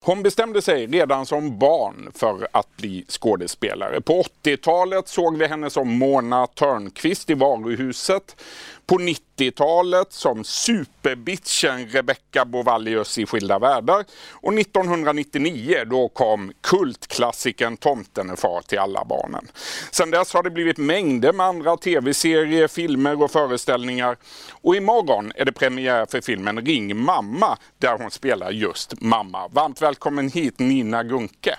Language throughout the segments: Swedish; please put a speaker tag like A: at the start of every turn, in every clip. A: Hon bestämde sig redan som barn för att bli skådespelare. På 80-talet såg vi henne som Mona Törnqvist i Varuhuset. På 90-talet som superbitchen Rebecca Bovallius i Skilda världar. Och 1999 då kom kultklassikern Tomten är far till alla barnen. Sedan dess har det blivit mängder med andra tv-serier, filmer och föreställningar. Och imorgon är det premiär för filmen Ring mamma där hon spelar just mamma. Varmt välkommen hit Nina Gunke.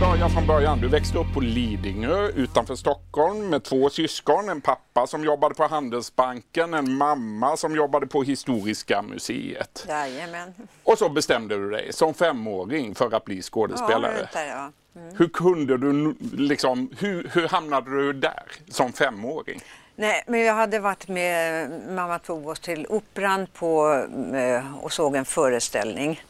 A: börja från början. Du växte upp på Lidingö utanför Stockholm med två syskon. En pappa som jobbade på Handelsbanken, en mamma som jobbade på Historiska museet.
B: Jajamän.
A: Och så bestämde du dig som femåring för att bli skådespelare.
B: Ja, vänta, ja.
A: Hur kunde du, liksom, hur, hur hamnade du där som femåring?
B: Nej, men jag hade varit med, mamma tog oss till Operan på, eh, och såg en föreställning,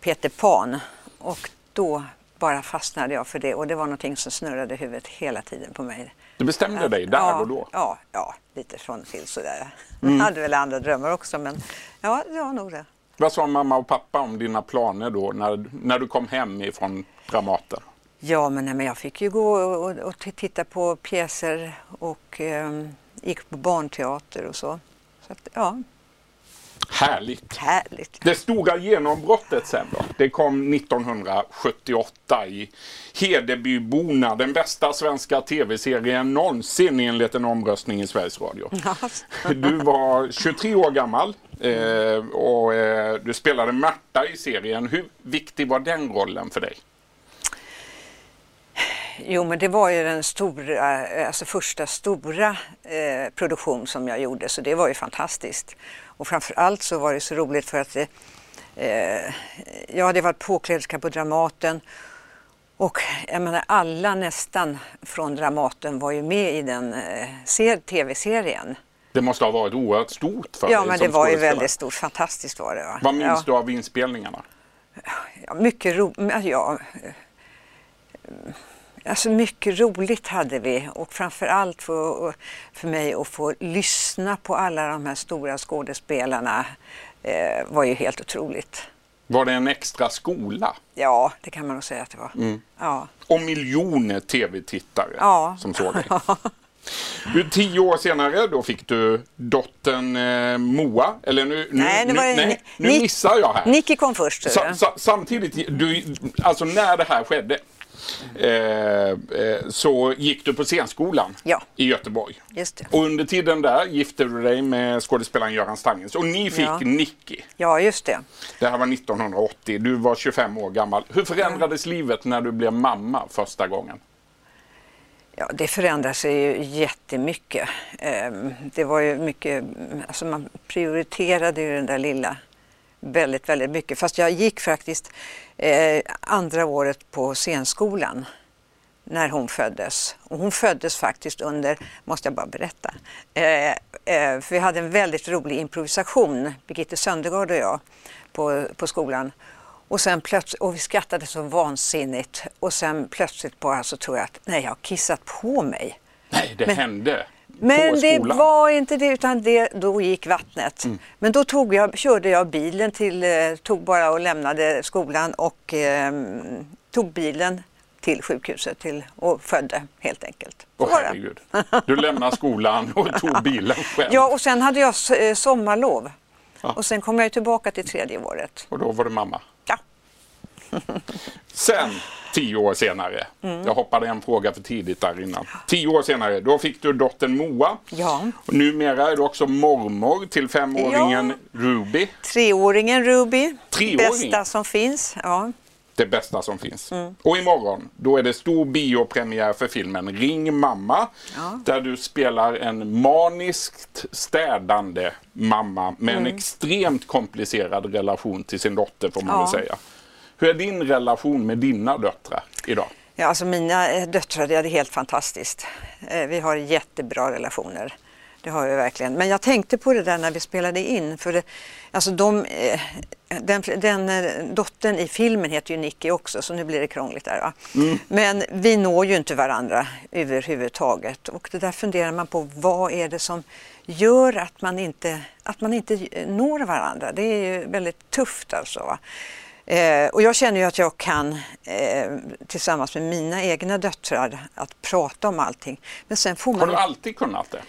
B: Peter Pan. Och då bara fastnade jag för det och det var någonting som snurrade i huvudet hela tiden på mig.
A: Du bestämde dig där
B: ja,
A: och då? Mm.
B: Ja, ja, lite från och till sådär. Jag hade väl andra drömmar också men ja, det var nog det.
A: Vad sa mamma och pappa om dina planer då när, när du kom hem ifrån Dramaten?
B: Ja, men, nej, men jag fick ju gå och, och, och t- titta på pjäser och ehm, gick på barnteater och så. så att, ja,
A: Härligt!
B: härligt.
A: Det stora genombrottet sen då? Det kom 1978 i Hedebyborna, den bästa svenska tv-serien någonsin enligt en omröstning i Sveriges Radio. Du var 23 år gammal eh, och eh, du spelade Märta i serien. Hur viktig var den rollen för dig?
B: Jo, men det var ju den stora, eh, alltså första stora eh, produktion som jag gjorde så det var ju fantastiskt. Och framför allt så var det så roligt för att eh, eh, jag hade varit påkläderska på Dramaten och jag menar alla nästan från Dramaten var ju med i den eh, ser- tv-serien.
A: Det måste ha varit oerhört stort för
B: Ja,
A: dig
B: men det
A: som
B: var ju
A: skådespelare.
B: väldigt stort. Fantastiskt var det. Va?
A: Vad minns du
B: ja.
A: av inspelningarna?
B: Ja, mycket, ro, men ja, eh, alltså mycket roligt hade vi och framförallt för, för mig att få lyssna på alla de här stora skådespelarna eh, var ju helt otroligt.
A: Var det en extra skola?
B: Ja, det kan man nog säga att det var. Ja.
A: Och miljoner tv-tittare
B: Ja.
A: som såg dig. Du, tio år senare då fick du dottern eh, Moa, eller nu, nu,
B: Nej, nu var det-
A: nej, nu
B: Ni-
A: missar jag här.
B: Nicky kom först. eh.
A: Sa-
B: Sa,
A: sa- samtidigt, du, alltså när det här skedde eh, eh, så gick du på scenskolan
B: Ja.
A: i Göteborg.
B: Just det.
A: Och under tiden där gifte du dig med skådespelaren Göran Stangens och ni fick
B: Ja.
A: Nicky.
B: Ja, just det.
A: Det här var 1980, du var 25 år gammal. Hur förändrades livet när du blev mamma första gången?
B: Ja, det förändrar sig ju jättemycket. Ehm, Det var ju mycket, alltså man prioriterade ju den där lilla väldigt, väldigt mycket. Fast jag gick faktiskt eh, andra året på scenskolan när hon föddes. Och hon föddes faktiskt under, måste jag bara berätta, eh, eh, för vi hade en väldigt rolig improvisation, Birgitte Söndergaard och jag, på, på skolan. Och, sen plöts- och vi skrattade så vansinnigt och sen plötsligt bara så tror jag att nej, jag har kissat på mig.
A: Nej, det hände på
B: Men det
A: skolan. Mm.
B: var inte det utan det, då gick vattnet. Men då tog jag, körde jag bilen till, eh, tog bara och lämnade skolan och ehm, tog bilen till sjukhuset till, och födde helt enkelt. Så
A: Åh
B: var det.
A: herregud. Du lämnade skolan och tog bilen själv.
B: Ja och sen hade jag s- eh, sommarlov och sen kom jag ju tillbaka till tredje året.
A: Och då var du mamma.
B: Ja.
A: Sen, tio år senare.
B: Mm.
A: Jag hoppade en fråga för tidigt där innan. Tio år senare, då fick du dottern Moa.
B: Ja.
A: Och numera är du också mormor till femåringen Ruby.
B: Treåringen Ruby,
A: Treåring?
B: bästa som finns. Ja.
A: Det bästa som finns. Och imorgon, då är det stor biopremiär för filmen Ring mamma. Där du spelar en maniskt städande mamma med
B: Mm.
A: en extremt komplicerad relation till sin dotter får man
B: Ja.
A: väl säga. Hur är din relation med dina döttrar idag?
B: Ja, alltså mina eh, döttrar, det är helt fantastiskt. Eh, Vi har jättebra relationer. Det har jag verkligen. Men jag tänkte på det där när vi spelade in. För det, alltså de, eh, den, den eh, dottern i filmen heter ju Nicky också så nu blir det krångligt där. Va? Men vi når ju inte varandra överhuvudtaget och det där funderar man på vad är det som gör att man inte, att man inte eh, når varandra. Det är ju väldigt tufft alltså. Va? Eh, och jag känner ju att jag kan eh, tillsammans med mina egna döttrar att prata om allting. Men sen får man
A: Har
B: ju-
A: du alltid kunnat det?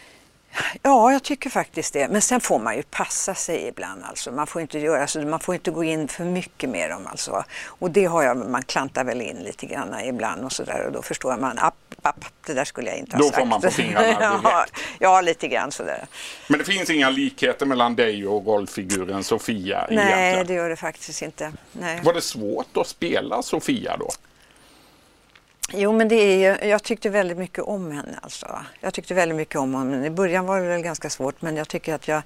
B: Ja, jag tycker faktiskt det. Men sen får man ju passa sig ibland. Alltså. Man, får inte göra, så man får inte gå in för mycket med dem. Alltså. Och det har jag, man klantar väl in lite grann ibland och sådär och då förstår man, app, app, det där skulle jag inte ha
A: Då får
B: sagt.
A: man på fingrarna direkt.
B: ja, ja, lite grann sådär.
A: Men det finns inga likheter mellan dig och rollfiguren Sofia
B: Nej,
A: egentligen?
B: det gör det faktiskt inte. Nej.
A: Var det svårt att spela Sofia då?
B: Jo, men det är ju, jag tyckte väldigt mycket om henne. Alltså. Jag tyckte väldigt mycket om henne. I början var det väl ganska svårt, men jag tycker att jag,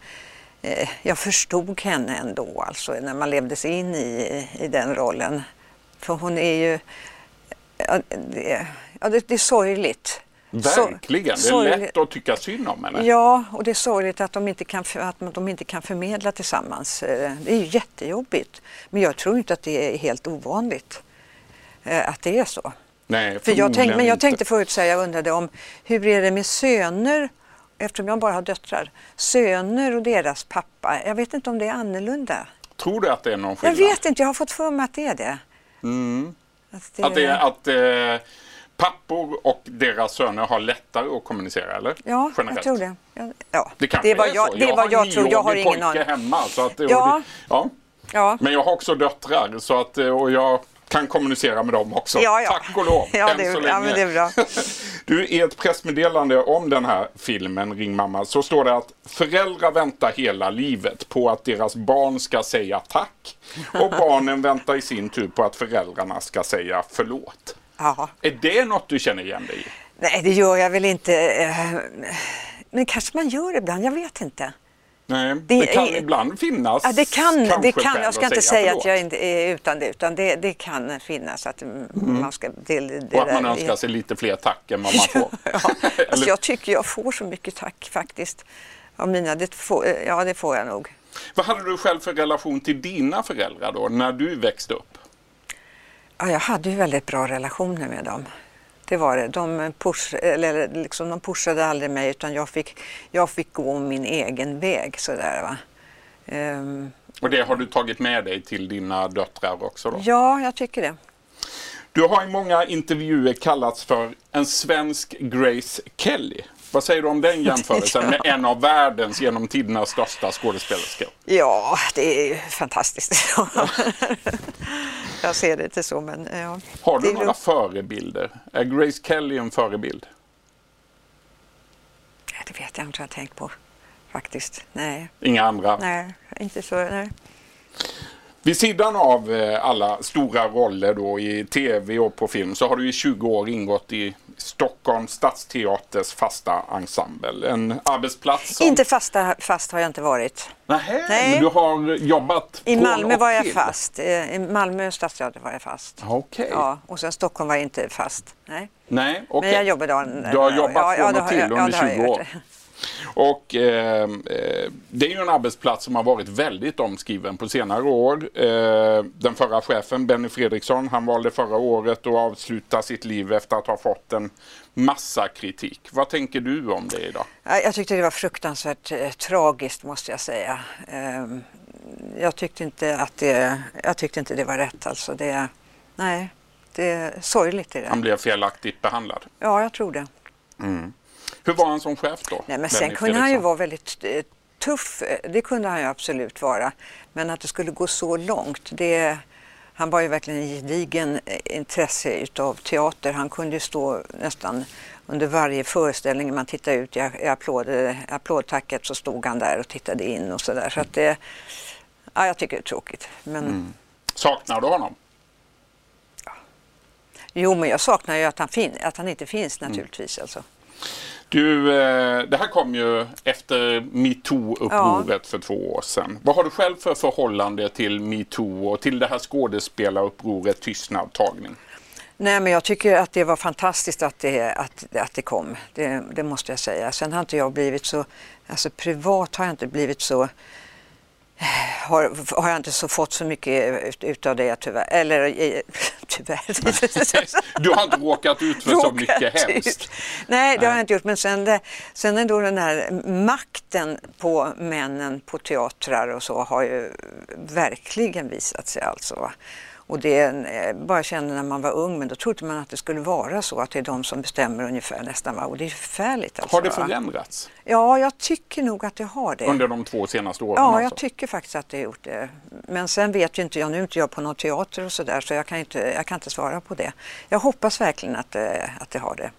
B: eh, jag förstod henne ändå, alltså, när man levde sig in i, i den rollen. För hon är ju... Ja, det, ja, det, det är sorgligt. Så-
A: Verkligen, det är
B: sorgligt.
A: lätt att tycka synd om henne.
B: Ja, och det är sorgligt att de inte kan, för, att de inte kan förmedla tillsammans. Eh, Det är ju jättejobbigt. Men jag tror inte att det är helt ovanligt eh, att det är så.
A: Nej,
B: För jag tänkte,
A: förmodligen
B: men jag
A: inte.
B: tänkte förut säga, jag undrade om hur är det med söner, eftersom jag bara har döttrar, söner och deras pappa. Jag vet inte om det är annorlunda.
A: Tror du att det är någon
B: Jag
A: skillnad? Mm.
B: vet inte, jag har fått för mig att det är det. Att det,
A: Att, det är, att eh, pappor och deras söner har lättare att kommunicera, eller?
B: Ja,
A: Generellt.
B: jag tror det. Jag, ja.
A: Det kanske
B: det är vad
A: är
B: jag,
A: så.
B: det är vad jag
A: en
B: tror, jag har
A: nioårig
B: ingen
A: pojke
B: aning.
A: hemma. Så att, och
B: Ja.
A: Det, ja.
B: Ja.
A: Men jag har också döttrar så att, eh, och jag kan kommunicera med dem också.
B: Ja, ja.
A: Tack och lov,
B: Ja,
A: än
B: det är-
A: så länge.
B: ja, men det är bra.
A: du, I ett pressmeddelande om den här filmen, Ring mamma, så står det att föräldrar väntar hela livet på att deras barn ska säga tack och barnen väntar i sin tur på att föräldrarna ska säga förlåt.
B: Ja.
A: Är det något du känner igen dig i?
B: Nej, det gör jag väl inte. eh, Men kanske man gör ibland, jag vet inte.
A: Nej, det, kan
B: är-
A: ibland finnas
B: Ja, det kan,
A: kanske
B: det kan.
A: skäl
B: Jag ska
A: att
B: inte säga
A: förlåt.
B: att jag inte är utan det, utan det, det kan finnas att mm, man ska... Det, det
A: Och att man
B: där är-
A: önskar sig lite fler tack än vad man får.
B: ja, alltså jag tycker jag får så mycket tack faktiskt. Av mina, det får, ja, det får jag nog.
A: Vad hade du själv för relation till dina föräldrar då, när du växte upp?
B: Ja, jag hade ju väldigt bra relationer med dem. Det var det. De, push, eller liksom, de pushade aldrig mig utan jag fick, jag fick gå min egen väg. Sådär, va? Ehm,
A: Och det har du tagit med dig till dina döttrar också då?
B: ja, jag tycker det.
A: Du har i många intervjuer kallats för en svensk Grace Kelly. Vad säger du om den jämförelsen med en av världens genom tiderna största skådespelerskor?
B: Ja, det är ju fantastiskt. jag ser det inte så, men ja.
A: Har
B: Det
A: du
B: är
A: några
B: lugnt.
A: förebilder? Är Grace Kelly en förebild?
B: Nej, det vet jag inte vad jag tänkt på faktiskt. Nej,
A: Inga andra?
B: nej, inte så. Nej.
A: Vid sidan av eh, alla stora roller då i tv och på film så har du i 20 år ingått i Stockholms stadsteaters fasta ensemble. En arbetsplats som...
B: Inte fasta, fast har jag inte varit.
A: Nähä,
B: Nej.
A: men du har jobbat
B: I
A: från
B: Malmö
A: och
B: var jag
A: till.
B: fast. Eh, I Malmö stadsteater var jag fast.
A: Ja, Okej.
B: Ja, och sen Stockholm var jag inte fast. Nej.
A: Nej, okej.
B: Men jag jobbade där.
A: Du har jobbat
B: Ja, ja,
A: från och
B: det har
A: till
B: jag- ja, det har
A: under
B: jag
A: 20
B: gjort.
A: år. Och eh, eh, det är ju en arbetsplats som har varit väldigt omskriven på senare år. Eh, den förra chefen Benny Fredriksson, han valde förra året att avsluta sitt liv efter att ha fått en massa kritik. Vad tänker du om det idag?
B: Ja, Jag tyckte det var fruktansvärt eh, tragiskt måste jag säga. Ehm, Jag tyckte inte att det, jag tyckte inte det var rätt alltså. Det, nej, det är sorgligt i det.
A: Han blev felaktigt behandlad.
B: Ja, jag tror det.
A: Hur var han som chef då?
B: Nej, men
A: Benny
B: sen kunde han ju
A: Fredriksson?
B: vara väldigt eh, tuff, eh, det kunde han ju absolut vara. Men att det skulle gå så långt, det, han var ju verkligen en gedigen eh, intresse utav teater. Han kunde ju stå nästan under varje föreställning, man tittade ut i a- i applåd, eh, applådtacket så stod han där och tittade in och sådär. Så att det, ja, jag tycker det är tråkigt. Men,
A: Saknar du honom?
B: Jo, men jag saknar ju att han, fin- att han inte finns naturligtvis. Alltså.
A: Du, eh, det här kom ju efter metoo-upproret för två år sedan. Vad har du själv för förhållande till metoo och till det här skådespelarupproret Tystnad tagning?
B: Nej men jag tycker att det var fantastiskt att det, att, att det kom, det, det måste jag säga. Sen har inte jag blivit så, alltså privat har jag inte blivit så, har, har jag inte så fått så mycket ut, utav det tyvärr. Eller eh, tyvärr.
A: Du har inte råkat ut för så
B: Råkat
A: mycket hemskt.
B: ut. typ. Nej, det har jag inte gjort. Men sen, det, sen ändå den här makten på männen på teatrar och så har ju verkligen visat sig alltså. va. Och det är en, eh, bara kände när man var ung, men då trodde man att det skulle vara så att det är de som bestämmer ungefär nästan. Va? Och det är förfärligt. Alltså,
A: Har det
B: va.
A: förändrats
B: Ja, jag tycker nog att det har det.
A: under de två senaste åren?
B: Ja,
A: alltså?
B: jag tycker faktiskt att det har gjort det. Men sen vet ju inte jag, nu är inte jag på någon teater och sådär så jag kan, inte, jag kan inte svara på det. Jag hoppas verkligen att, det- att det har det.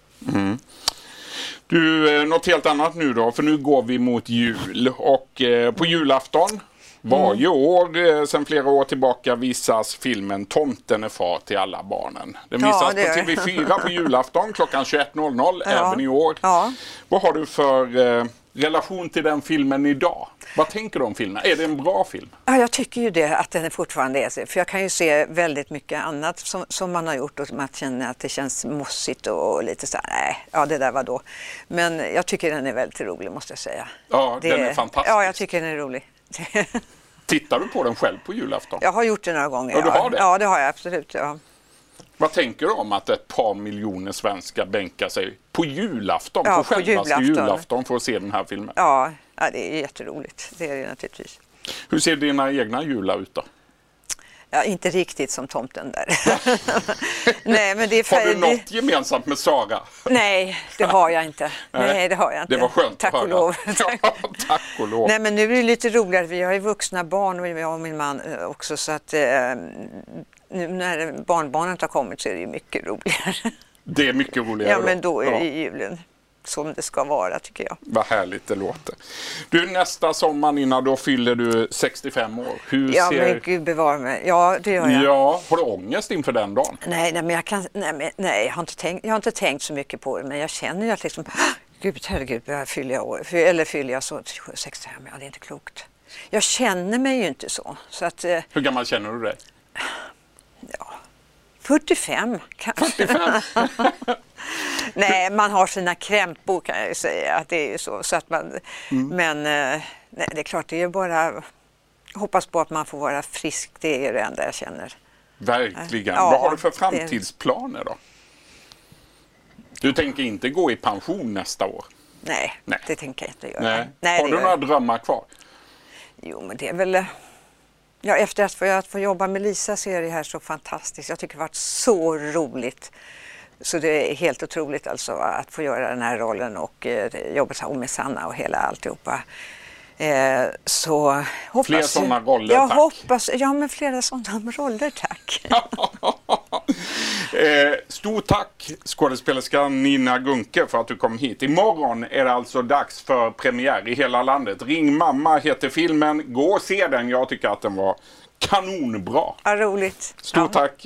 A: Du, eh, något helt annat nu då, för nu går vi mot jul och eh, på julafton varje
B: Mm.
A: år eh, sedan flera år tillbaka visas filmen Tomten är far till alla barnen. Den
B: Ja,
A: visas
B: det gör
A: på
B: den.
A: TV4 på julafton klockan 21.00
B: Ja.
A: även i år.
B: Ja.
A: Vad har du för eh, relation till den filmen idag? Vad tänker du om filmen? Är det en bra film?
B: Ja, jag tycker ju det, att den fortfarande är så. För jag kan ju se väldigt mycket annat som, som man har gjort och man känner att det känns mossigt och, och lite så här, nej, ja det där var då. Men jag tycker den är väldigt rolig måste jag säga.
A: Ja,
B: Det-
A: den är fantastisk.
B: Ja, jag tycker den är rolig.
A: Tittar du på den själv på julafton?
B: jag har gjort det några gånger.
A: Ja, du har det?
B: Ja, det har jag absolut. Ja.
A: Vad tänker du om att ett par miljoner svenskar bänkar sig på julafton,
B: Ja,
A: på
B: på
A: självaste julafton.
B: julafton.
A: för att se den här filmen?
B: Ja, ja, det är jätteroligt. Det är det naturligtvis.
A: Hur ser dina egna jular ut då?
B: Ja, inte riktigt som tomten där. nej, men det är
A: Har du
B: färg- det-
A: något gemensamt med Sara?
B: Nej, det har jag inte. Nej, det har jag inte.
A: Det var skönt
B: Tack
A: att
B: och
A: höra.
B: lov.
A: Ja, tack och lov.
B: Nej men nu är det lite roligare, vi har ju vuxna barn och jag och min man eh, också så att eh, nu när barnbarnet har kommit så är det ju mycket roligare.
A: Det är mycket roligare.
B: ja men då är det
A: Ja,
B: ju julen som det ska vara tycker jag.
A: vad härligt det låter. Du, nästa sommar Nina, då fyller du 65 år. Hur
B: Ja
A: ser...
B: men gud bevara mig, ja det gör jag.
A: ja, har du ångest inför den dagen?
B: Nej, nej, men jag, kan, nej, men, nej jag, har inte tänkt, jag har inte tänkt så mycket på det men jag känner ju att liksom, gud herregud, jag fyller jag år, Fy- eller fyller jag så 65, ja det är inte klokt. Jag känner mig ju inte så, så att eh,
A: Hur gammal känner du dig?
B: 45 kanske.
A: 45?
B: Nej, man har sina krämpor kan jag ju säga att det är ju så. så att man,
A: Mm.
B: Men eh, nej, det är klart, det är ju bara hoppas på att man får vara frisk. Det är ju det enda jag känner.
A: Verkligen.
B: Ja,
A: Vad har du för
B: det-
A: framtidsplaner då? Du tänker inte gå i pension nästa år?
B: Nej,
A: Nej.
B: det tänker jag inte göra.
A: Nej.
B: Nej,
A: har
B: det
A: du
B: gör
A: några
B: jag.
A: drömmar kvar?
B: Jo, men det är väl... eh, Ja, efter att få, att få jobba med Lisa så är det här så fantastiskt. Jag tycker det har varit så roligt. Så det är helt otroligt alltså att få göra den här rollen och eh, jobba så- och med Sanna och hela alltihopa. Eh, så hoppas
A: Fler
B: ju-
A: sådana roller,
B: jag
A: tack.
B: Hoppas, ja, men flera sådana roller tack.
A: eh, stort tack skådespelerskan Nina Gunke för att du kom hit. Imorgon är det alltså dags för premiär i hela landet. Ring mamma heter filmen. Gå och se den. Jag tycker att den var kanonbra.
B: Ja, roligt.
A: Stort
B: ja.
A: tack!